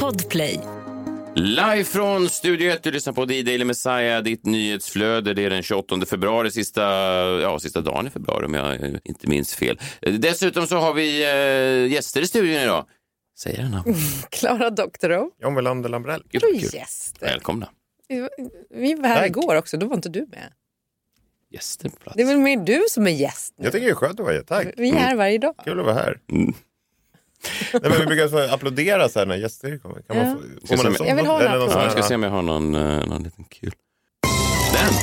Podplay. Live från Studio 1, du lyssnar på D-Daily Messiah, ditt nyhetsflöde. Det är den 28 februari, sista, ja, sista dagen i februari om jag eh, inte minns fel. Eh, Dessutom så har vi eh, gäster i studion idag. Säger jag namn? Klara Doktorow John Welander Lambrell. Gud, och vad kul. gäster. Välkomna. Vi- Vi var här Tack. igår också, då var inte du med. Gäster på plats. Det är väl mer du som är gäst nu? Jag tycker det är skönt att vara här. Tack. Vi är här varje dag. Kul att vara här. Mm. Nej, men vi brukar så här applådera så här när gäster kommer. Kan man få, Ska får man en se om- sån? Jag vill ha en Eller någon applåd. Ja, sån här- jag ska se om jag har någon, eh, någon liten kul. Den!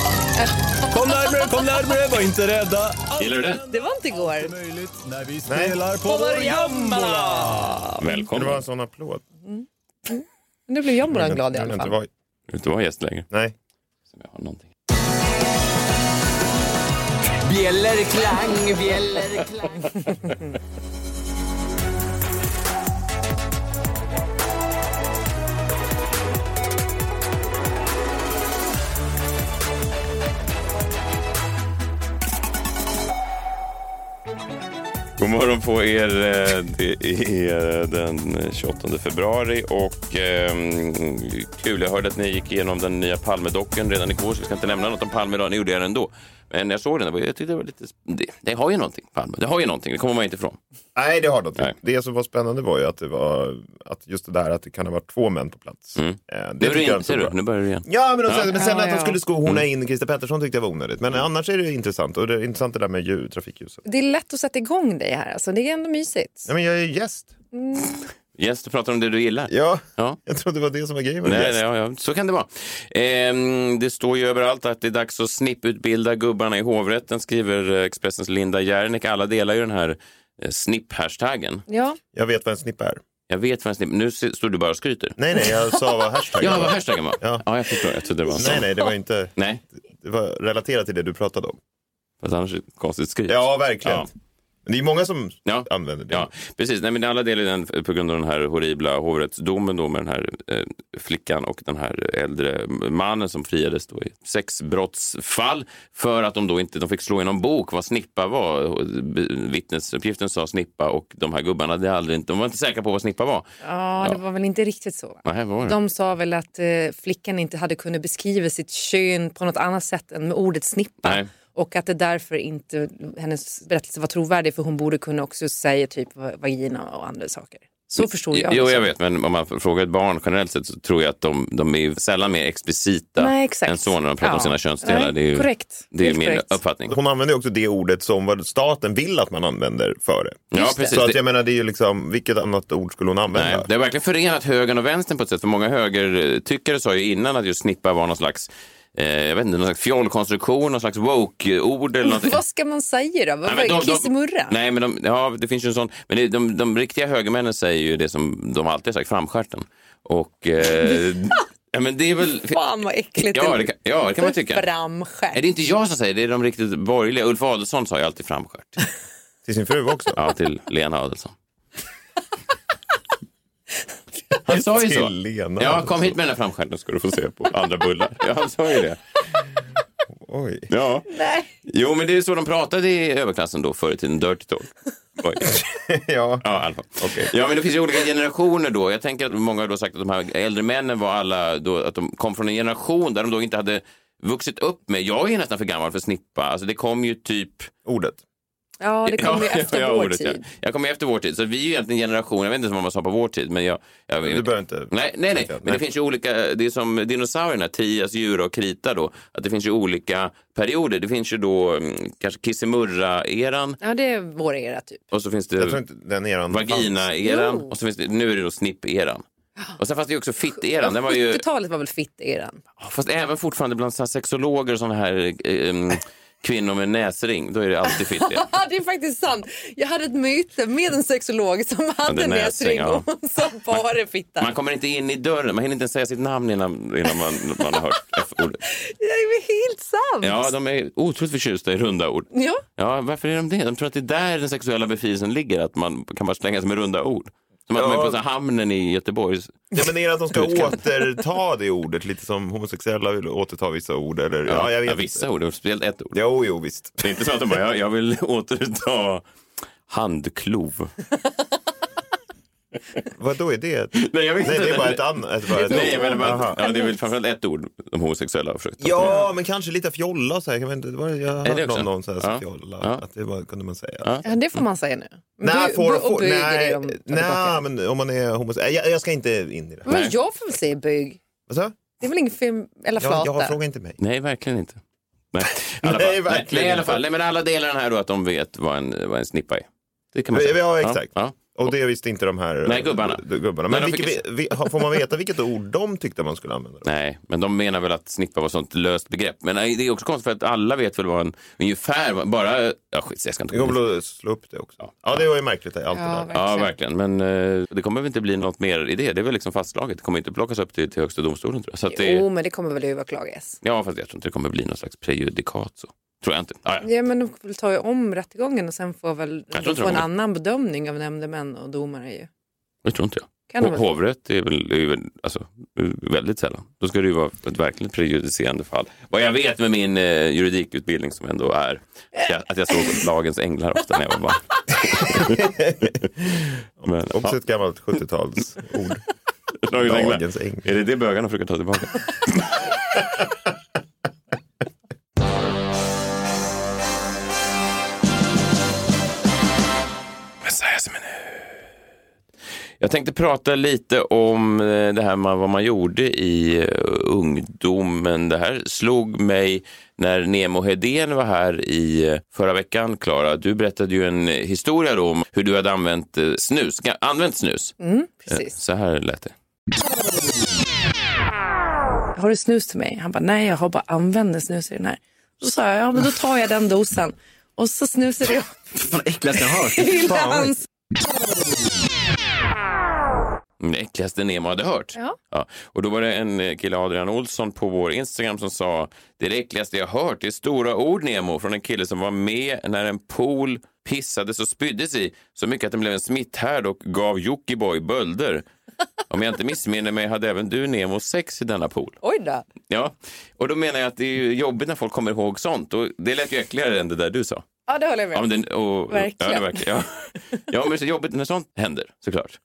Kom närmre, kom närmre, var inte rädda. Allt Gillar du den? Det var inte igår. är möjligt när vi Nej. spelar på vår Jombola! Det Välkommen. var Du en sån applåd. Nu blev Jombolan Jag glad i vill alla inte fall. vara- behöver inte vara gäst längre. Nej. Se om jag har någonting. Bjällerklang, bjällerklang. God morgon på er. Eh, Det är eh, den 28 februari och ehm, kul. Jag hörde att ni gick igenom den nya Palmedocken redan igår så vi ska inte nämna något om Palme idag. Ni gjorde det ändå. Men när jag såg den, det var- jag tyckte det var lite... Det, det har ju någonting, Palme. Det har ju någonting. Det kommer man inte ifrån. Nej, det har de Nej. inte. Det som var spännande var ju att det var att just det där att det kan ha varit två män på plats. Mm. Eh, Nu, Det är tycker det jag in, inte ser var du, bra. nu börjar det igen. Ja, men, och sen, Ja. Mm. men sen Ja, att ja. de skulle sko hona in Christer Pettersson tyckte jag var onödigt. Men annars är det ju intressant. Och det är intressant det där med ljud, trafikljuset. Det är lätt att sätta igång dig här, alltså. det är ändå mysigt. Nej, men jag är gäst. Yes, du pratar om det du gillar. Ja, Ja. jag trodde det var det som var grejen med Nej, gäst. nej, ja, ja. Så kan det vara. Ehm, det står ju överallt att det är dags att snipputbilda gubbarna i hovrätten, skriver eh, Expressens Linda Järnek. Alla delar ju den här eh, snipp-hashtaggen. Ja, Jag vet vad en snipp är. Jag vet vad en snipp... Nu se- står du bara och skryter. Nej, nej, jag sa vad hashtaggen Ja, vad hashtaggen var. Ja. Ja. jag förstår. Jag trodde det var en Nej, sån. nej, det var inte... Nej, Det var relaterat till det du pratade om. fast annars är det konstigt skryt. Ja, verkligen. Ja. Men det är många som Ja. använder det. Ja, precis. Nej, men alla delar i den på grund av den här horribla hovrättsdomen då med den här eh, flickan och den här äldre mannen som friades då i sexbrottsfall för att de då inte de fick slå i någon bok vad snippa var. Vittnesuppgiften sa snippa och de här gubbarna hade aldrig, inte- de var inte säkra på vad snippa var. ja, det var väl inte riktigt så. va? Nej, vad var det? De sa väl att eh, flickan inte hade kunnat beskriva sitt kön på något annat sätt än med ordet snippa. Nej. Och att det därför inte hennes berättelse var trovärdig för hon borde kunna också säga typ va- vagina och andra saker. Så förstod jag. Jo, det. jag vet, men om man frågar ett barn generellt sett så tror jag att de, de är ju sällan mer explicita Nej, exakt. än så när de pratar om Ja. sina könsdelar. Nej, det är ju, korrekt. Det är Helt min korrekt. uppfattning. Hon använder också det ordet som vad staten vill att man använder för det. Ja, precis. Så att Det- jag menar, det är ju liksom, vilket annat ord skulle hon använda? Nej, det har verkligen förenat högern och vänstern på ett sätt. För många högertyckare sa ju innan att just snippa var någon slags, eh, jag vet inte, någon slags fjollkonstruktion, någon slags woke-ord eller något. Vad ska man säga då? Vad var det? Kissemurra? nej, men de, ja, det finns ju en sån. Men det, de, de riktiga högermännen säger ju det som de alltid har sagt, framstjärten. Och... Eh, ja, men det är väl... Fan vad äckligt Ja, det kan- ja, det kan man tycka. Framskär. Är det inte jag som säger det? Det är de riktigt borgerliga. Ulf Adelsohn sa ju alltid framstjärt. Till sin fru också. Ja, till Lena Adelsohn. Han sa ju så. Till Lena. Ja, kom hit med den här framstjärten ska du få se på andra bullar. Ja, han sa ju det. alltså. Oj. Ja. Nej. Jo, men det är så de pratade i överklassen då förr i tiden, dirty talk. Oj. ja. Ja, i alla fall. ja, men det finns ju olika generationer då. Jag tänker att många har då sagt att de här äldre männen var alla då, att de kom från en generation där de då inte hade vuxit upp med. Jag är ju nästan för gammal för snippa. Alltså det kom ju typ... Ordet. Ja, det kommer ju Ja, efter ja, vår ordet, ja. tid. Jag kommer ju efter vår tid. Så vi är ju egentligen generation, jag vet inte vad man sa på vår tid, men jag... jag Du behöver inte... Nej, nej, nej. Nej. Men det finns ju olika, det är som dinosaurierna, Trias, Jura och Krita då, att det finns ju olika perioder. Det finns ju då mm, kanske Kissemurra-eran Ja, det är vår era typ. och så finns Jag tror det inte den eran fanns. vagina-eran Jo. och så finns det, nu är det då snipp-eran. Och sen fanns det ju också fitt-eran. Den var ju, 70-talet var väl fitt-eran? fast även fortfarande bland så här sexologer och sådana här eh, mm, kvinnor med näsring, då är det alltid fitt eran. Ja, det är faktiskt sant. Jag hade ett möte med en sexolog som hade det är näsring, näsring och ja. som bara fitta. Man kommer inte in i dörren, man hinner inte ens säga sitt namn innan, innan man, man har hört F-ordet. Det är väl helt sant? Ja, de är otroligt förtjusta i runda ord. Ja. Ja, varför är de det? De tror att det är där den sexuella befrielsen ligger, att man kan bara slänga sig med runda ord. Som att Ja. man är på så här hamnen i Göteborg. Ja, men det är att de ska Utkant. återta det ordet, lite som homosexuella vill återta vissa ord. Eller, ja, jag vet ja, inte. vissa ord, speciellt ett ord. Jo, jo, visst. Det är inte så att de bara, jag, jag vill återta handklov. Vad då är det? Nej, jag vet Nej, det är inte. bara ett annat. Nej, men det, Aha. var, ja, det är väl framförallt ett ord de homosexuella har försökt ta till. Ja, men kanske lite fjolla så här. Jag, vet inte, det var, jag har Är det hört också? någon, någon så här som Ja. fjolla. Ja. Att det var, kunde man säga. Ja. Ja, det får man säga nu. Men Nej, bu- får, bu- och får, bög är det nej, de tar tillbaka. nej, men om man är homosexuell. Jag, jag ska inte in i det. Men jag får väl säga bög. Vad sa du? Det är väl ingen film eller flata? Jag, jag frågar inte mig. Nej, verkligen inte. Nej, i alla Nej, fall. nej, verkligen nej, i alla inte. fall. Nej, men alla delar den här då att de vet vad en, vad en snippa är. Det kan man Ja, säga. ja, exakt. Ja, Och det visste inte de här Nej, gubbarna. de gubbarna. Men Men de vilket, fick- vi, vi- har- får man veta vilket ord de tyckte man skulle använda? då? Nej, men de menar väl att snippa var ett sånt löst begrepp. Men nej, det är också konstigt för att alla vet väl vad en ungefär, bara... Ja, skit, jag ska inte Det går väl att slå upp det också. Ja, det var ju märkligt. Allt Ja, det där. verkligen. Ja, verkligen. Men eh, det kommer väl inte bli något mer i det. Det är väl liksom fastslaget. Det kommer inte plockas upp till, till Högsta domstolen tror jag. Så att Jo, det, men det kommer väl att överklagas. ja, fast jag tror inte det kommer bli något slags prejudikat. Så. Tror jag inte. Ah, ja. Ja, men de får väl ta ju om rättegången och sen får väl tror de inte få de en kommer- annan bedömning av nämndemän och domare ju. Det tror inte jag. Kan de Ho- väl? Hovrätt är väl, är väl alltså, väldigt sällan. Då ska det ju vara ett verkligt prejudicerande fall. Vad jag vet med min eh, juridikutbildning som ändå är att jag, att jag såg lagens änglar ofta när jag var barn. Men, ja, Också ett gammalt 70-talsord. lagens änglar. Dagens äng. Är det det bögarna försöker ta tillbaka? Messias minut. Jag tänkte prata lite om eh, det här med vad man gjorde i eh, ungdomen. Det här slog mig när Nemo Hedén var här i eh, förra veckan, Klara. Du berättade ju en eh, historia då om hur du hade använt eh, snus. Ga- Använt snus. Mm, Eh, precis. Så här lät det. Har du snus till mig? Han bara, nej, jag har bara använder snus i den här. Då sa jag, ja, men då tar jag den dosan. Och så snusade jag Fan, äckligast jag hört. till hans Mm, Det äckligaste Nemo hade hört. Ja. Och då var det en eh, kille, Adrian Olsson, på vår Instagram som sa det är det äckligaste jag hört. Det är stora ord Nemo från en kille som var med när en pool pissades och spyddes i så mycket att den blev en smitthärd och gav Jockiboi bölder. Om jag inte missminner mig hade även du Nemo sex i denna pool. Oj då. Ja, och då menar jag att det är ju jobbigt när folk kommer ihåg sånt och det lät ju äckligare än det där du sa. Ja, det håller jag med Ja, om. men den, och, Verkligen. Ja, det verkar, ja. ja, men det är så jobbigt när sånt händer såklart.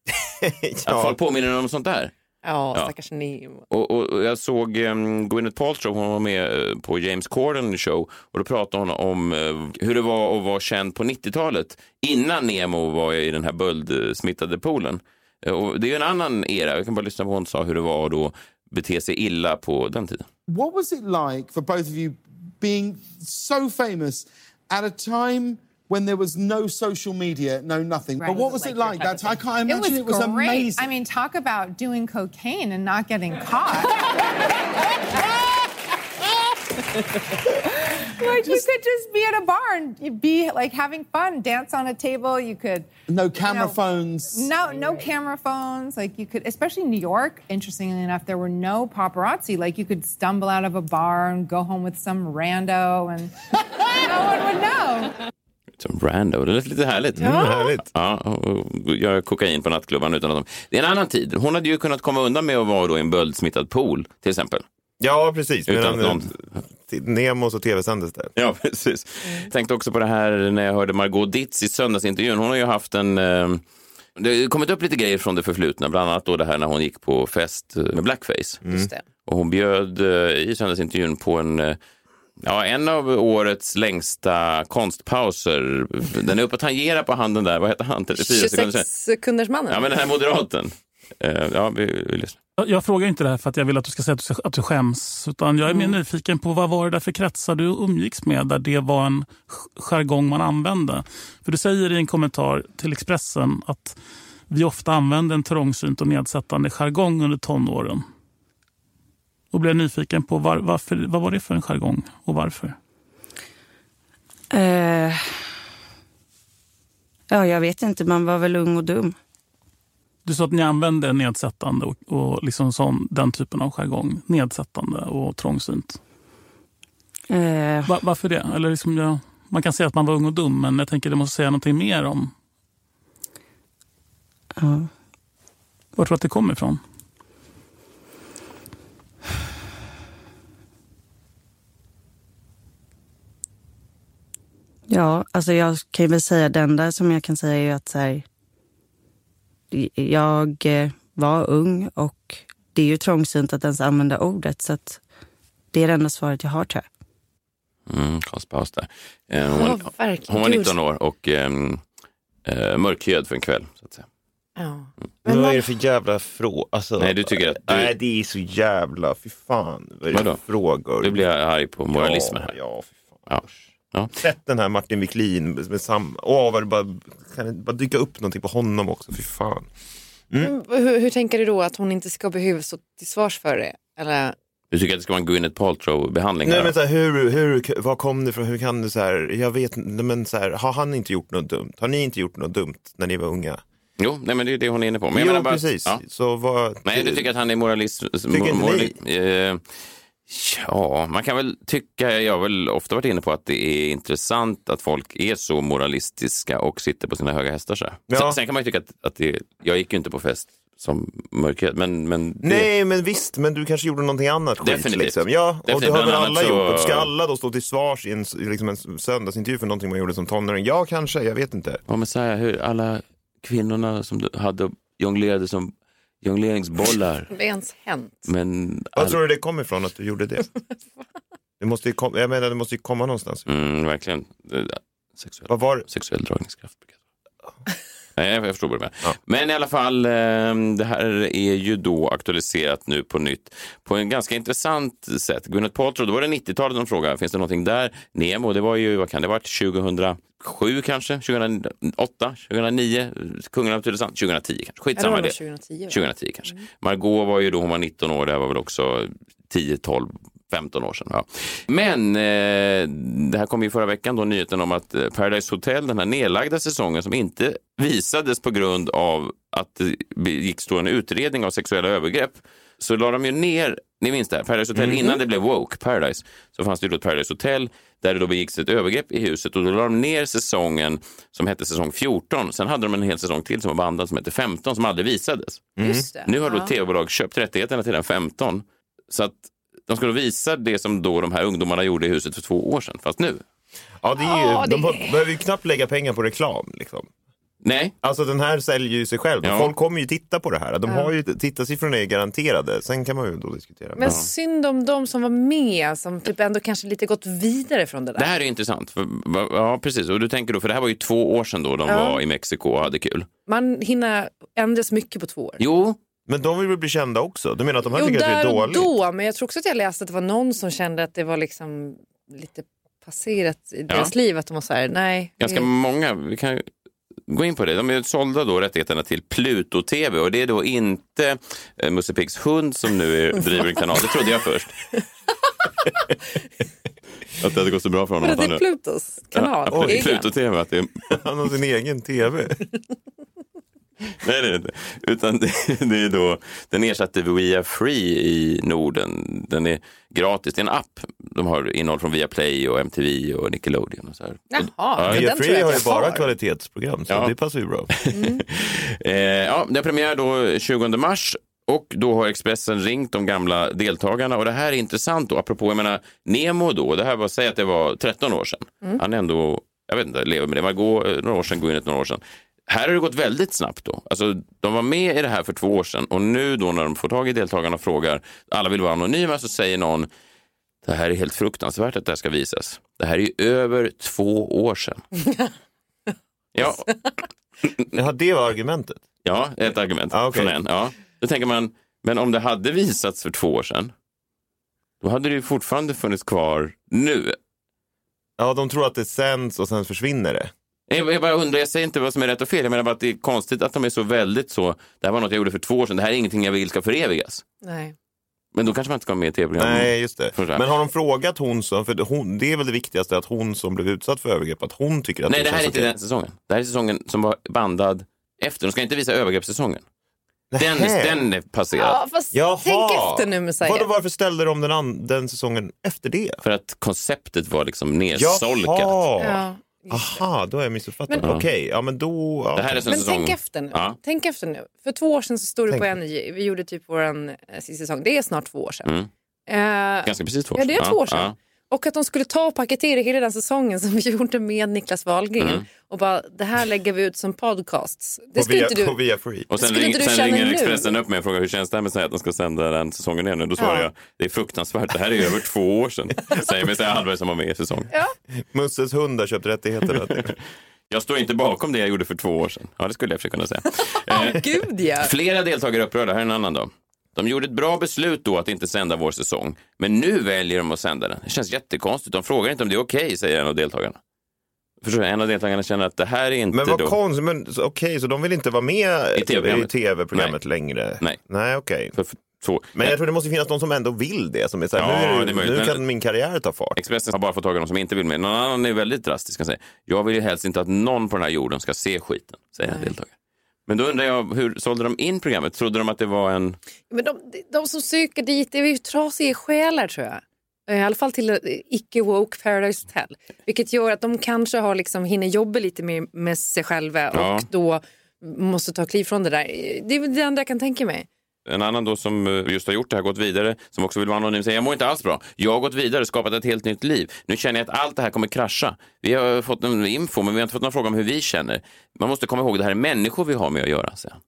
Att Ja. folk påminner om sånt där. Ja, stackars Nemo. Och, och, och jag såg um, Gwyneth Paltrow, hon var med eh, på James Corden show och då pratade hon om eh, hur det var att vara känd på 90-talet innan Nemo var i den här böldsmittade poolen. Eh, Och det är ju en annan era, vi kan bara lyssna på vad hon sa hur det var att då bete sig illa på den tiden. what was it like for both of you being so famous at a time when there was no social media, no nothing? But what was it like that time? I can't It was, imagine it was, great. amazing. I mean, talk about doing cocaine and not getting caught. like you could just be at a bar and you'd be like having fun, dance on a table. You could no camera No. phones. no no camera phones. Like you could, especially in New York. Interestingly enough, there were no paparazzi. Like you could stumble out of a bar and go home with some rando, and no one would know. Som rando, det lät lite härligt. Mm, härligt. Ja, och och göra kokain på nattklubban utan att de... Det är en annan tid. Hon hade ju kunnat komma undan med att vara då i en böldsmittad pool till exempel. Ja, precis. Utan Medan, att någon- eh, t- Nemo så tv-sändes det. Ja, precis. Mm. Tänkte också på det här när jag hörde Margot Ditz i söndagsintervjun. Hon har ju haft en... Eh, det har ju kommit upp lite grejer från det förflutna, bland annat då det här när hon gick på fest eh, med blackface. Just det. Och hon bjöd eh, i söndagsintervjun på en, eh, ja, en av årets längsta konstpauser. Den är uppe och tangerar på handen där, vad heter han? 34 sekunder sedan. 26 sekunders mannen. Ja, men den här moderaten. Eh, ja, vi, vi lyssnar. Jag, jag frågar inte det här för att jag vill att du ska säga att du, att du skäms. Utan jag är mer nyfiken på vad var det där för kretsar du umgicks med där det var en j- jargong man använde. För du säger i en kommentar till Expressen att vi ofta använde en trångsynt och nedsättande jargong under tonåren. Och blev nyfiken på var, varför, vad var det för en jargong och varför? Eh, ja, jag vet inte. Man var väl ung och dum. Du sa att ni använde nedsättande och, och liksom sån, den typen av jargong. Nedsättande och trångsynt. Eh, Va- varför det? Eller liksom jag, man kan säga att man var ung och dum, men jag tänker det måste säga någonting mer om ja. var tror du att det kommer ifrån? ja, alltså jag kan ju väl säga det enda som jag kan säga är ju att så här, jag eh, var ung och det är ju trångsynt att ens använda ordet så att det är det enda svaret jag har tror jag. Mm, konstpaus där. Eh, hon, Ja, verkligen. hon var Gud. 19 år och ehm, eh, mörkhyad för en kväll. Så att säga. Ja. Men vad är det för jävla fråga? Alltså, Nej, du tycker att- du- Nej, det är så jävla... Fy fan. Vad är det Vadå? för frågor? Nu blir jag arg på moralismen här. Ja, ja fy fan. Ja. Ja. Sätt den här Martin Wiklin med samma... Åh, vad det bara... Kan det bara dyka upp någonting på honom också? Fy fan. Hur, hur tänker du då att hon inte ska behöva stå till svars för det? Eller, Du tycker att det ska vara en Gwyneth Paltrow-behandling? Nej, här? men så här, hur, hur, var kom det från? Hur kan du så här? Jag vet inte, men så här, har han inte gjort något dumt? Har ni inte gjort något dumt när ni var unga? Jo, nej, men det är det hon är inne på. Men jag jo, menar bara, precis. Ja. Så vad... Nej, du tycker att han är moralist? inte eh, ja, man kan väl tycka, jag har väl ofta varit inne på att det är intressant att folk är så moralistiska och sitter på sina höga hästar. Så här. Ja. Sen, sen kan man ju tycka att, att det, jag gick ju inte på fest som mörkhyad, men, men det, Nej, men visst, men du kanske gjorde någonting annat skit. Definitivt. Liksom. Ja, och Definitivt. det har väl Bland alla annat så- gjort. Och Ska alla då stå till svars i en, s- liksom en s- söndagsintervju för någonting man gjorde som tonåring? Ja, kanske. Jag vet inte. Ja, men så här, hur alla kvinnorna som du hade jonglerade som jongleringsbollar. har det ens hänt? Men Vad all... tror du det kom ifrån att du gjorde det? Det måste ju kom, jag menar, det måste ju komma någonstans. mm, verkligen. Det där, Sexuell, Vad var det? sexuell dragningskraft. brukar jag säga. Nej, jag jag förstår vad du menar. Men i alla fall, ehm, det här är ju då aktualiserat nu på nytt på en ganska intressant sätt. Gwyneth Paltrow, då var det 90-talet de frågade, finns det någonting där? Nemo, det var ju, vad kan det ha varit, 2007 kanske? 2008? 2009? Kungen av Tylösand? 2010 kanske? Skitsamma Eller var det. det 2010, va? 2010 kanske. Margot var ju då, hon var 19 år, det här var väl också 10, 12, 15 år sedan. Ja. Men eh, det här kom ju förra veckan då nyheten om att eh, Paradise Hotel, den här nedlagda säsongen som inte visades på grund av att det be- gick stå en utredning av sexuella övergrepp, så la de ju ner, ni minns det här, Paradise Hotel, innan det blev woke Paradise, så fanns det ju då ett Paradise Hotel där det då begicks ett övergrepp i huset och då la de ner säsongen som hette säsong 14. Sen hade de en hel säsong till som var bandad som hette 15 som aldrig visades. Just det. Mm. Nu har då Ja. tv-bolag köpt rättigheterna till den 15. Så att de skulle visa det som då de här ungdomarna gjorde i huset för två år sedan, fast nu. Ja, det är ju, Ja, De det- be- behöver ju knappt lägga pengar på reklam. Liksom. Nej, Alltså den här säljer ju sig själv. Ja. Folk kommer ju titta på det här. De har ju, tittarsiffrorna är garanterade. Sen kan man ju då diskutera. Men synd om de som var med, som typ ändå kanske lite gått vidare från det där. det här är intressant. För, va- ja, precis. Och du tänker då, för det här var ju två år sedan då de var i Mexiko och hade kul. Man hinner ändras mycket på två år. Jo, Men de vill väl bli kända också? Du menar att de här Jo, tycker att där det är och dåligt? då, men jag tror också att jag läste att det var någon som kände att det var liksom lite passerat i deras liv. Att de var så här, nej. det- ganska många. Vi kan gå in på det. De är sålda då rättigheterna till Pluto TV och det är då inte eh, Musse Piggs hund som nu är, driver en kanal. Det trodde jag först. att det hade gått så bra för honom. Vadå, att han det är nu- Plutos kanal. Ja, Egen. Pluto TV. Att det är... Han har sin egen tv. Nej, det är det inte. Utan det, det är då, den ersatte Via Free i Norden. Den är gratis. Det är en app. De har innehåll från Viaplay och MTV och Nickelodeon. Och så här. Jaha, men Via den tror Free jag har ju att jag bara har. kvalitetsprogram, så Ja. det passar ju bra. Eh, ja, det har premiär då 20 mars och då har Expressen ringt de gamla deltagarna och det här är intressant då, apropå, jag menar, Nemo då, det här var, säg att det var 13 år sedan. Han är ändå, jag vet inte, lever med det, man går eh, några år sedan, går in ett några år sedan. Här har det gått väldigt snabbt då. Alltså, de var med i det här för två år sedan och nu då när de får tag i deltagarna och frågar, alla vill vara anonyma, så säger någon, det här är helt fruktansvärt att det här ska visas. Det här är ju över två år sedan. ja, Jaha, det var argumentet. Ja, ett argument Ah, okej. från en. Ja. Då tänker man, men om det hade visats för två år sedan, då hade det ju fortfarande funnits kvar nu. Ja, de tror att det sänds och sen försvinner det. Jag jag bara undrar, jag säger inte vad som är rätt och fel, jag menar bara att det är konstigt att de är så väldigt så, det här var något jag gjorde för två år sedan, det här är ingenting jag vill ska förevigas. Nej. Men då kanske man inte ska vara med i tv-program. Nej, just det. Förstår jag. Men har de frågat hon som, för hon, det är väl det viktigaste att hon som blev utsatt för övergrepp, att hon tycker att Nej, det här känns är inte okej. den säsongen. Det här är säsongen som var bandad efter, de ska inte visa övergreppssäsongen. Den, Nähä. den är passerad. Ja, fast Jaha. tänk efter nu Messiah. Vadå, varför ställde de den, an- den säsongen efter det? För att konceptet var liksom nersolkat. Ja. Aha, då har jag missuppfattat. Okej, ja men då... Ja. Det här är som Men säsong... tänk efter nu. Ja. Tänk efter nu. För två år sedan så stod det Tänk. på NJ, vi Mm. gjorde typ vår sista säsong, det är snart två år sedan. Eh, Ganska precis två år Ja, det är sedan. två år sedan. Och att de skulle ta och paketera hela den säsongen som vi gjorde med Niklas Wahlgren och bara det här lägger vi ut som podcasts. Det Mm. På skulle via, inte på du... via free. Och sen, Skulle ring, inte du sen känna ringer nu? Expressen upp mig och frågar hur känns det här med att den ska sända den säsongen igen. Och Då svarar Ja. jag det är fruktansvärt, det här är över två år sedan. Säger Messiah Hallberg som var med i säsongen. Musses hund har köpt rättigheterna. till- Jag står inte bakom det jag gjorde för två år sedan. Ja, det skulle jag försöka kunna säga. Eh, Gud ja. Flera deltagare är upprörda. Här är en annan då. De gjorde ett bra beslut då att inte sända vår säsong, men nu väljer de att sända den. Det känns jättekonstigt. De frågar inte om det är okej, säger en av deltagarna. Förstår du? En av deltagarna känner att det här är inte Men vad då. konstigt, men så- okej, så de vill inte vara med I TV-programmet. i tv-programmet längre? Nej. Nej, okej. för, för, så. Men jag tror det måste finnas någon som ändå vill det. Som är så här, Ja, nu, är det, det är möjligt, nu men- kan min karriär ta fart. Expressen har bara fått tag i de som inte vill med. Någon annan är väldigt drastisk. Kan säga. Jag vill ju helst inte att någon på den här jorden ska se skiten, säger en deltagare. Men då undrar jag, hur sålde de in programmet? Trodde de att det var en... Men de, de som söker dit är ju trasiga själar tror jag. I alla fall till eh, icke-woke Paradise Hotel. Vilket gör att de kanske har liksom, hinner jobba lite mer med sig själva och Ja. då måste ta kliv från det där. Det är väl det enda jag kan tänka mig. En annan då som eh, just har gjort det här, gått vidare, som också vill vara anonym, säger jag mår inte alls bra. Jag har gått vidare, skapat ett helt nytt liv. Nu känner jag att allt det här kommer krascha. Vi har fått en info, men vi har inte fått någon fråga om hur vi känner. Man måste komma ihåg, det här är människor vi har med att göra. säger han.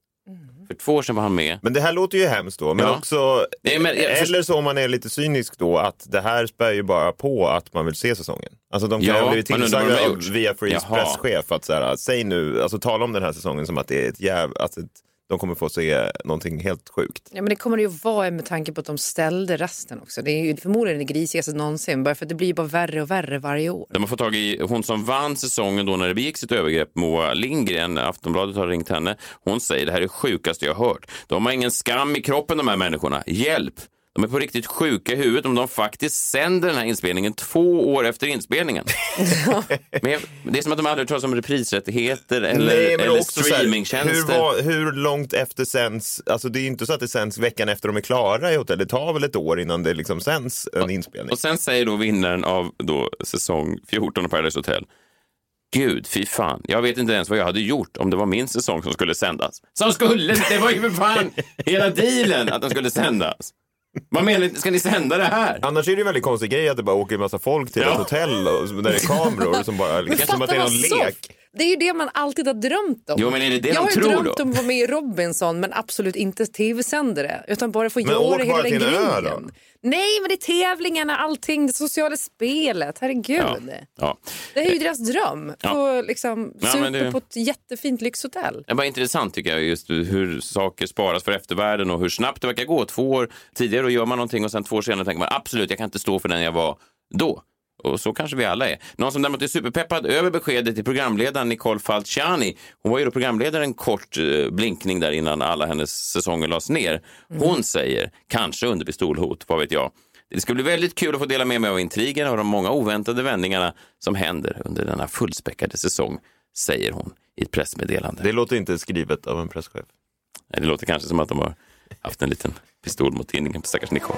För två år sedan var han med. Men det här låter ju hemskt då, men Ja. också... Nej, men jag- eller så om man är lite cynisk då, att det här spär ju bara på att man vill se säsongen. Alltså de kan Ja, ha blivit man undrar vad de tillsagda har av gjort. via Frees Jaha. presschef att så här, säg nu, alltså tala om den här säsongen som att det är ett jäv... Att ett, de kommer få se någonting helt sjukt. Ja, men det kommer det ju vara med tanke på att de ställde rasten också. Det är ju förmodligen det grisigaste någonsin. Bara för att det blir ju bara värre och värre varje år. De har fått tag i hon som vann säsongen då när det begick sitt övergrepp, Moa Lindgren. Aftonbladet har ringt henne. Hon säger det här är det sjukaste jag hört. De har ingen skam i kroppen de här människorna. Hjälp! De är på riktigt sjuka i huvudet om de faktiskt sänder den här inspelningen två år efter inspelningen. men jag, det är som att de aldrig har hört talas om reprisrättigheter eller, Nej, men eller också så här, streamingtjänster. Hur, var, hur långt efter sänds, alltså det är ju inte så att det sänds veckan efter de är klara i hotellet. Det tar väl ett år innan det liksom sänds en inspelning. Och sen säger då vinnaren av då säsong 14 av Paradise Hotel Gud, fy fan. Jag vet inte ens vad jag hade gjort om det var min säsong som skulle sändas. Som skulle! Det var ju för fan hela dealen att den skulle sändas. Vad menar ni? Ska ni sända det här? Annars är det ju en väldigt konstig grej att det bara åker en massa folk till Ja. ett hotell och, som- där det är kameror som bara... Liksom, som att det är någon vad lek. soft. Det är ju det man alltid har drömt om. Jo, men är det det jag de har ju tror drömt då? om att vara med i Robinson men absolut inte tv-sändare. Utan bara få Men åk göra hela bara den till en ö då. grejen. Nej, men det är tävlingarna, allting, det sociala spelet. Herregud. Ja. ja. Det är ju deras dröm. Ja. Få liksom Ja, supa men det- på ett jättefint lyxhotell. Det är bara intressant tycker jag just hur saker sparas för eftervärlden och hur snabbt det verkar gå. Två år tidigare då gör man någonting och sen två år senare tänker man absolut, jag kan inte stå för den jag var då. Och så kanske vi alla är. Någon som däremot är superpeppad över beskedet till programledaren Nicole Falciani. Hon var ju då programledare en kort eh, blinkning där innan alla hennes säsonger lades ner. Hon säger, kanske under pistolhot, vad vet jag. Det ska bli väldigt kul att få dela med mig av intrigerna och de många oväntade vändningarna som händer under denna fullspäckade säsong, säger hon i ett pressmeddelande. Det låter inte skrivet av en presschef. Nej, Det låter kanske som att de har haft en liten pistol mot tinningen på stackars Nicole.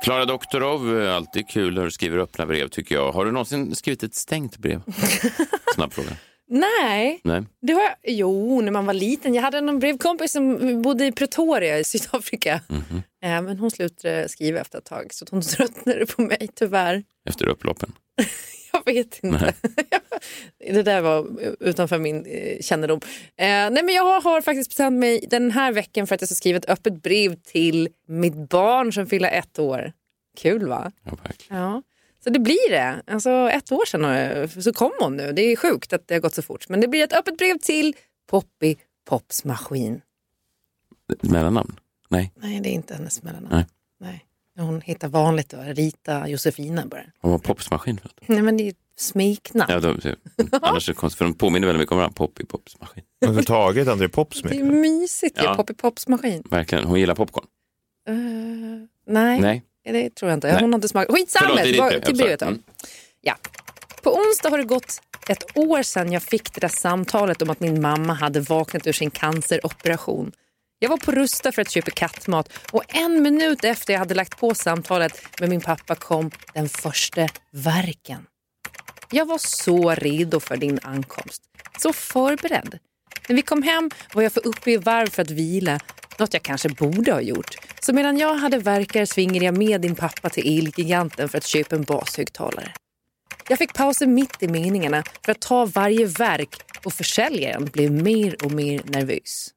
Klara Doktorov, eh, alltid kul när du skriver öppna brev tycker jag. Har du någonsin skrivit ett stängt brev? Snabb fråga. Nej. Nej. Det har jag, jo, när man var liten. Jag hade någon brevkompis som bodde i Pretoria i Sydafrika. Mhm. Eh, Men hon slutade skriva efter ett tag så att hon tröttnade på mig tyvärr. Efter upploppen. Jag vet inte. det där var utanför min eh, kännedom. Eh, nej, men jag har, har faktiskt bestämt mig den här veckan för att jag ska skriva ett öppet brev till mitt barn som fyller ett år. Kul va? Ja, verkligen. Ja. Så det blir det. Alltså, ett år sedan har jag, så kom hon nu. Det är sjukt att det har gått så fort. Men det blir ett öppet brev till Poppy Popsmaskin. Ett mellannamn? Nej, Nej, det är inte hennes mellannamn. Nej. Nej. Hon heter vanligt då, Rita Josefina bara. vad var popsmaskin för något? Nej, men det är smeknamn. Ja, de, annars är det konstigt, för de påminner väldigt mycket om varandra. Poppy Pops maskin. Överhuvudtaget André Pops Det är med. mysigt ju, Ja. Poppy Pops maskin. Verkligen. Hon gillar popcorn. Eh, nej, Nej. det tror jag inte. Nej. Hon har inte smakat. Skitsamma, Förlåt, det är tillbaka ditt till fel. Ja, brevet. då. sorry. Mm. Ja. På onsdag har det gått ett år sedan jag fick det där samtalet om att min mamma hade vaknat ur sin canceroperation. Jag var på Rusta för att köpa kattmat och en minut efter jag hade lagt på samtalet med min pappa kom den första verken. Jag var så redo för din ankomst. Så förberedd. När vi kom hem var jag för uppe i varv för att vila, något jag kanske borde ha gjort. Så medan jag hade verkar svingade jag med din pappa till Elgiganten för att köpa en bashögtalare. Jag fick pauser mitt i meningarna för att ta varje verk och försäljaren blev mer och mer nervös.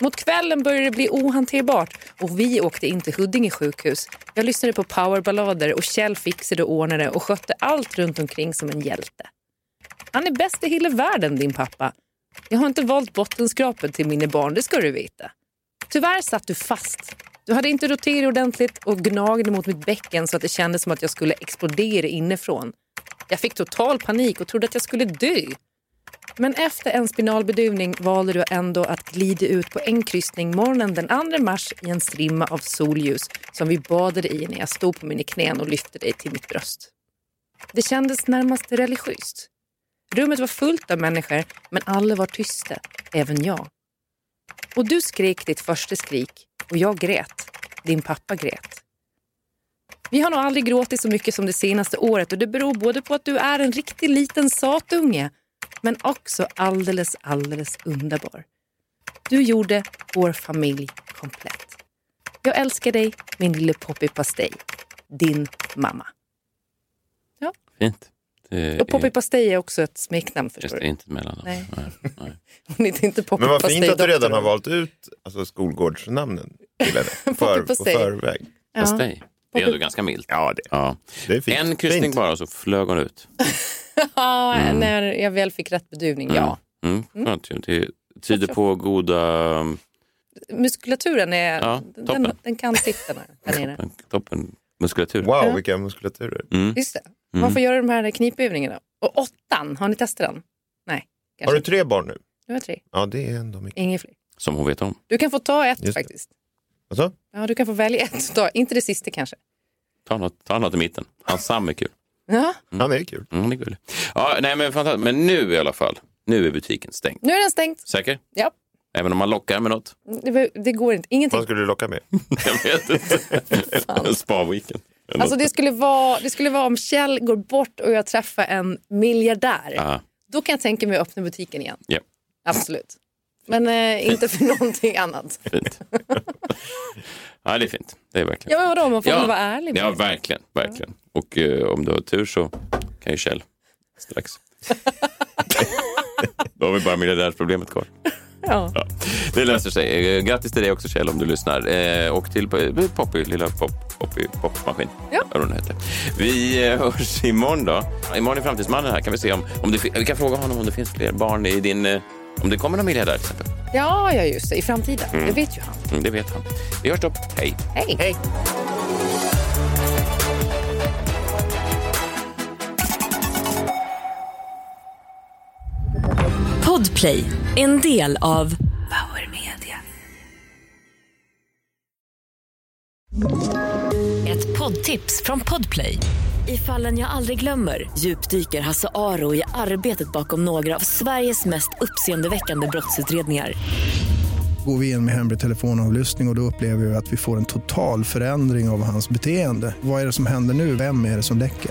Mot kvällen började det bli ohanterbart och vi åkte in till Huddinge sjukhus. Jag lyssnade på powerballader och Kjell fixade och ordnade och skötte allt runt omkring som en hjälte. Han är bäst i hela världen, din pappa. Jag har inte valt bottenskrapet till mina barn, det ska du veta. Tyvärr satt du fast. Du hade inte roterat ordentligt och gnagde mot mitt bäcken så att det kändes som att jag skulle explodera inifrån. Jag fick total panik och trodde att jag skulle dö. Men efter en spinalbedövning valde du ändå att glida ut på en kryssning morgonen den 2 mars i en strimma av solljus som vi badade i när jag stod på mina knän och lyfte dig till mitt bröst. Det kändes närmast religiöst. Rummet var fullt av människor, men alla var tysta, även jag. Och du skrek ditt första skrik och jag grät. Din pappa grät. Vi har nog aldrig gråtit så mycket som det senaste året och det beror både på att du är en riktig liten satunge men också alldeles, alldeles underbar. Du gjorde vår familj komplett. Jag älskar dig, min lille Poppy Pastej. Din mamma. Fint. Det Och Poppy är, Pastej är också ett smeknamn just förstår det, du. inte mellan dem. Nej. Nej, nej. Hon heter inte Poppy Men vad fint Pastej att du redan doktorn. har valt ut alltså, skolgårdsnamnen till henne. För, på Pastej. förväg. Ja. Fast dig. Det är ändå ganska milt. Ja, det, Ja. det är fint. En kryssning fint. bara och så flög hon ut. Ja, när jag väl fick rätt bedövning, ja. Mm. Skönt ju. Det tyder på goda... mm, Muskulaturen är... Ja, den, toppen. den kan sitta där, där nere. Toppen muskulatur. Wow, vilka muskulaturer. Just det. Man får göra de här knipövningarna. Och åttan, har ni testat den? Nej, Har kanske. du tre barn nu? Nu har jag tre. Ja, det är ändå mycket. Inget fler. Som hon vet om. Du kan få ta ett det. faktiskt. Alltså? Mm. Ja, du kan få välja ett. Ta, inte det sista kanske. Ta något, ta något i mitten. Hans Sam är kul. Ja. Han är kul. Mm, han är gullig. Ja, nej, men, fantastiskt. men nu i alla fall. Nu är butiken stängd. Nu är den stängd. Säker? Ja. Även om man lockar med något? Det, det går inte. Ingenting. Vad skulle du locka med? Jag vet inte. Spa-weekend. Alltså, det, skulle vara, det skulle vara om Kjell går bort och jag träffar en miljardär. Aha. Då kan jag tänka mig att öppna butiken igen. Ja, Absolut. Men eh, inte för någonting annat. fint. ja, det är fint. Det är verkligen. Ja, men vadå, man får väl vara ärlig. med Ja, det. verkligen. verkligen. Och eh, om du har tur så kan ju Kjell strax. Då har vi bara miljardärsproblemet kvar. Ja. Ja, det löser sig. Eh, Grattis till dig också Kjell om du lyssnar. Eh, och till eh, Poppy, lilla pop, Poppy popmaskin. Ja. Vad hon heter. Vi eh, hörs imorgon då. Imorgon är Framtidsmannen här. Kan vi, se om, om det, fi- vi kan fråga honom om det finns fler barn i din... eh, Om det kommer någon miljardär till exempel. ja, ja, just det. I framtiden. Det vet ju han. Mm, det vet han. Vi hörs då. Hej. Hej. Hej. Podplay, en del av Power Media. Ett poddtips från Podplay. I fallen jag aldrig glömmer djupdyker Hasse Aro i arbetet bakom några av Sveriges mest uppseendeväckande brottsutredningar. Går vi in med hemlig telefonavlyssning och, och då upplever vi att vi får en total förändring av hans beteende. Vad är det som händer nu? Vem är det som läcker?